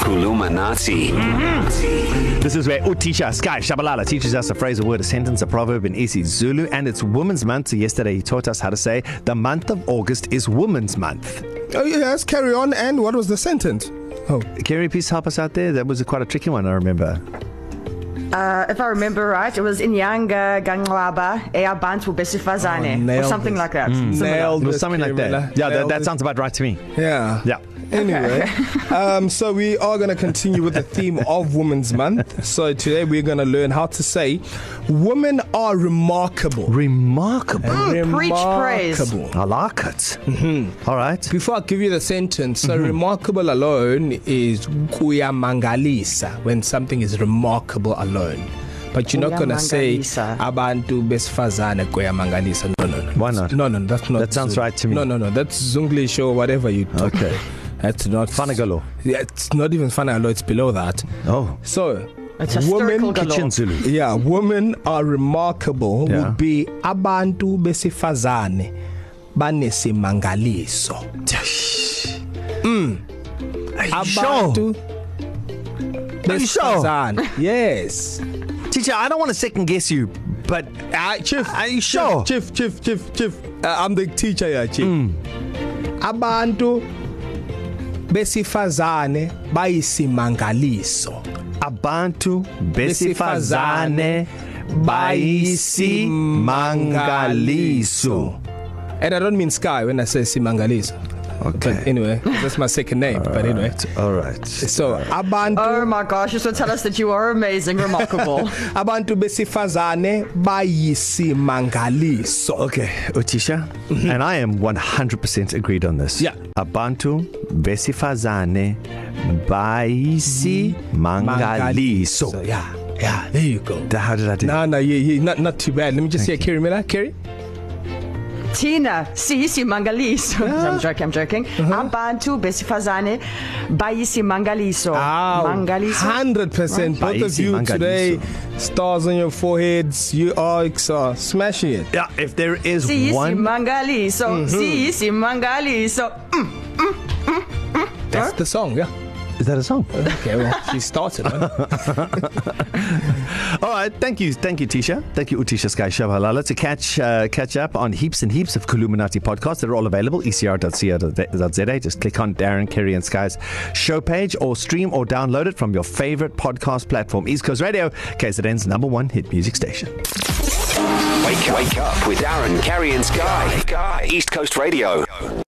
Kulumanati. This is where Utisha Sky Shabalala teaches us a phrase, a word, a sentence, a proverb in Isi Zulu, and it's Women's Month. So yesterday he taught us how to say the month of August is Women's Month. Oh, yes, carry on. And what was the sentence? Oh, Kerry, please help us out there. That was a quite a tricky one, I remember. Uh, if I remember right, it was Inyanga Gangwaba Eabantu Besifazane Oh, or something nailed it. like that. Mm. nailed It was it, something like Kerala. that. Yeah, that, Nailed that it. sounds about right to me. Yeah. Yeah. Anyway, um, so we are going to continue with the theme of Women's Month. So today we're going to learn how to say, "Women are remarkable." Remarkable. preach praise. Remarkable. I like it. Mm-hmm. All right. Before I give you the sentence, so mm-hmm. remarkable alone is kuyamangalisa when something is remarkable alone. But you're not going to say Kuyamangalisa. abantu besifazane kuyamangalisa. No, no, no. Why not? No, no, that's not. That sounds Zulu. right to me. No, no, no. That's Zunglish or whatever you talk. Okay. That's not Fanagalo. Yeah, it's not even Fanagalo. It's below that. Oh. So, It's historical women- galore. Kitchen Zulu. yeah, women are remarkable Yeah. yeah. would be abantu besifazane banesimangaliso. Mm. Abantu Are you sure? besifazane. Yes. Teacher, I don't want to second guess you, but Uh, chief, Ah, Are you sure? Chief, chief, chief, chief. Uh, I'm the teacher here, chief. Mm. Abantu besifazane bayisimangaliso. abantu besifazane bayisimangaliso. And I don't mean sky when I say simangaliso. Okay. But anyway, that's my second name. All but anyway. Right. Right. All right. So abantu Oh my gosh, you should tell us that you are amazing, remarkable. abantu besifazane bayisimangaliso. Okay, Utisha, mm-hmm. and I am 100% agreed on this. Yeah. Abantu besifazane baisi mangaliso. So, yeah. Yeah, there you go. Da- How did I do? No, no, yeah, yeah, not not too bad. Let me just hear Kerry Miller. Kerry? Tina, sisi mangaliso. I'm joking, I'm joking. Uh-huh. Abantu besifazane bayisi mangaliso. mangaliso. Hundred percent. Both of Paisi you Mangaliso. today, stars on your foreheads. You are are smashing it. Yeah, if there is Sisi one mangaliso. Mm-hmm. Sisi mangaliso. That's the song, yeah. Is that a song? Okay, well, she started. Huh? All right, thank you, thank you, Tisha, thank you, Utisha Sky Shabalala. To catch uh, catch up on heaps and heaps of Kuluminati podcasts that are all available E ecr.co.za. Just click on Darren Kerry and Sky's show page, or stream or download it from your favorite podcast platform, East Coast Radio, KZN's number one hit music station. Wake, wake up with Darren, Carrie, and Sky. East Coast Radio.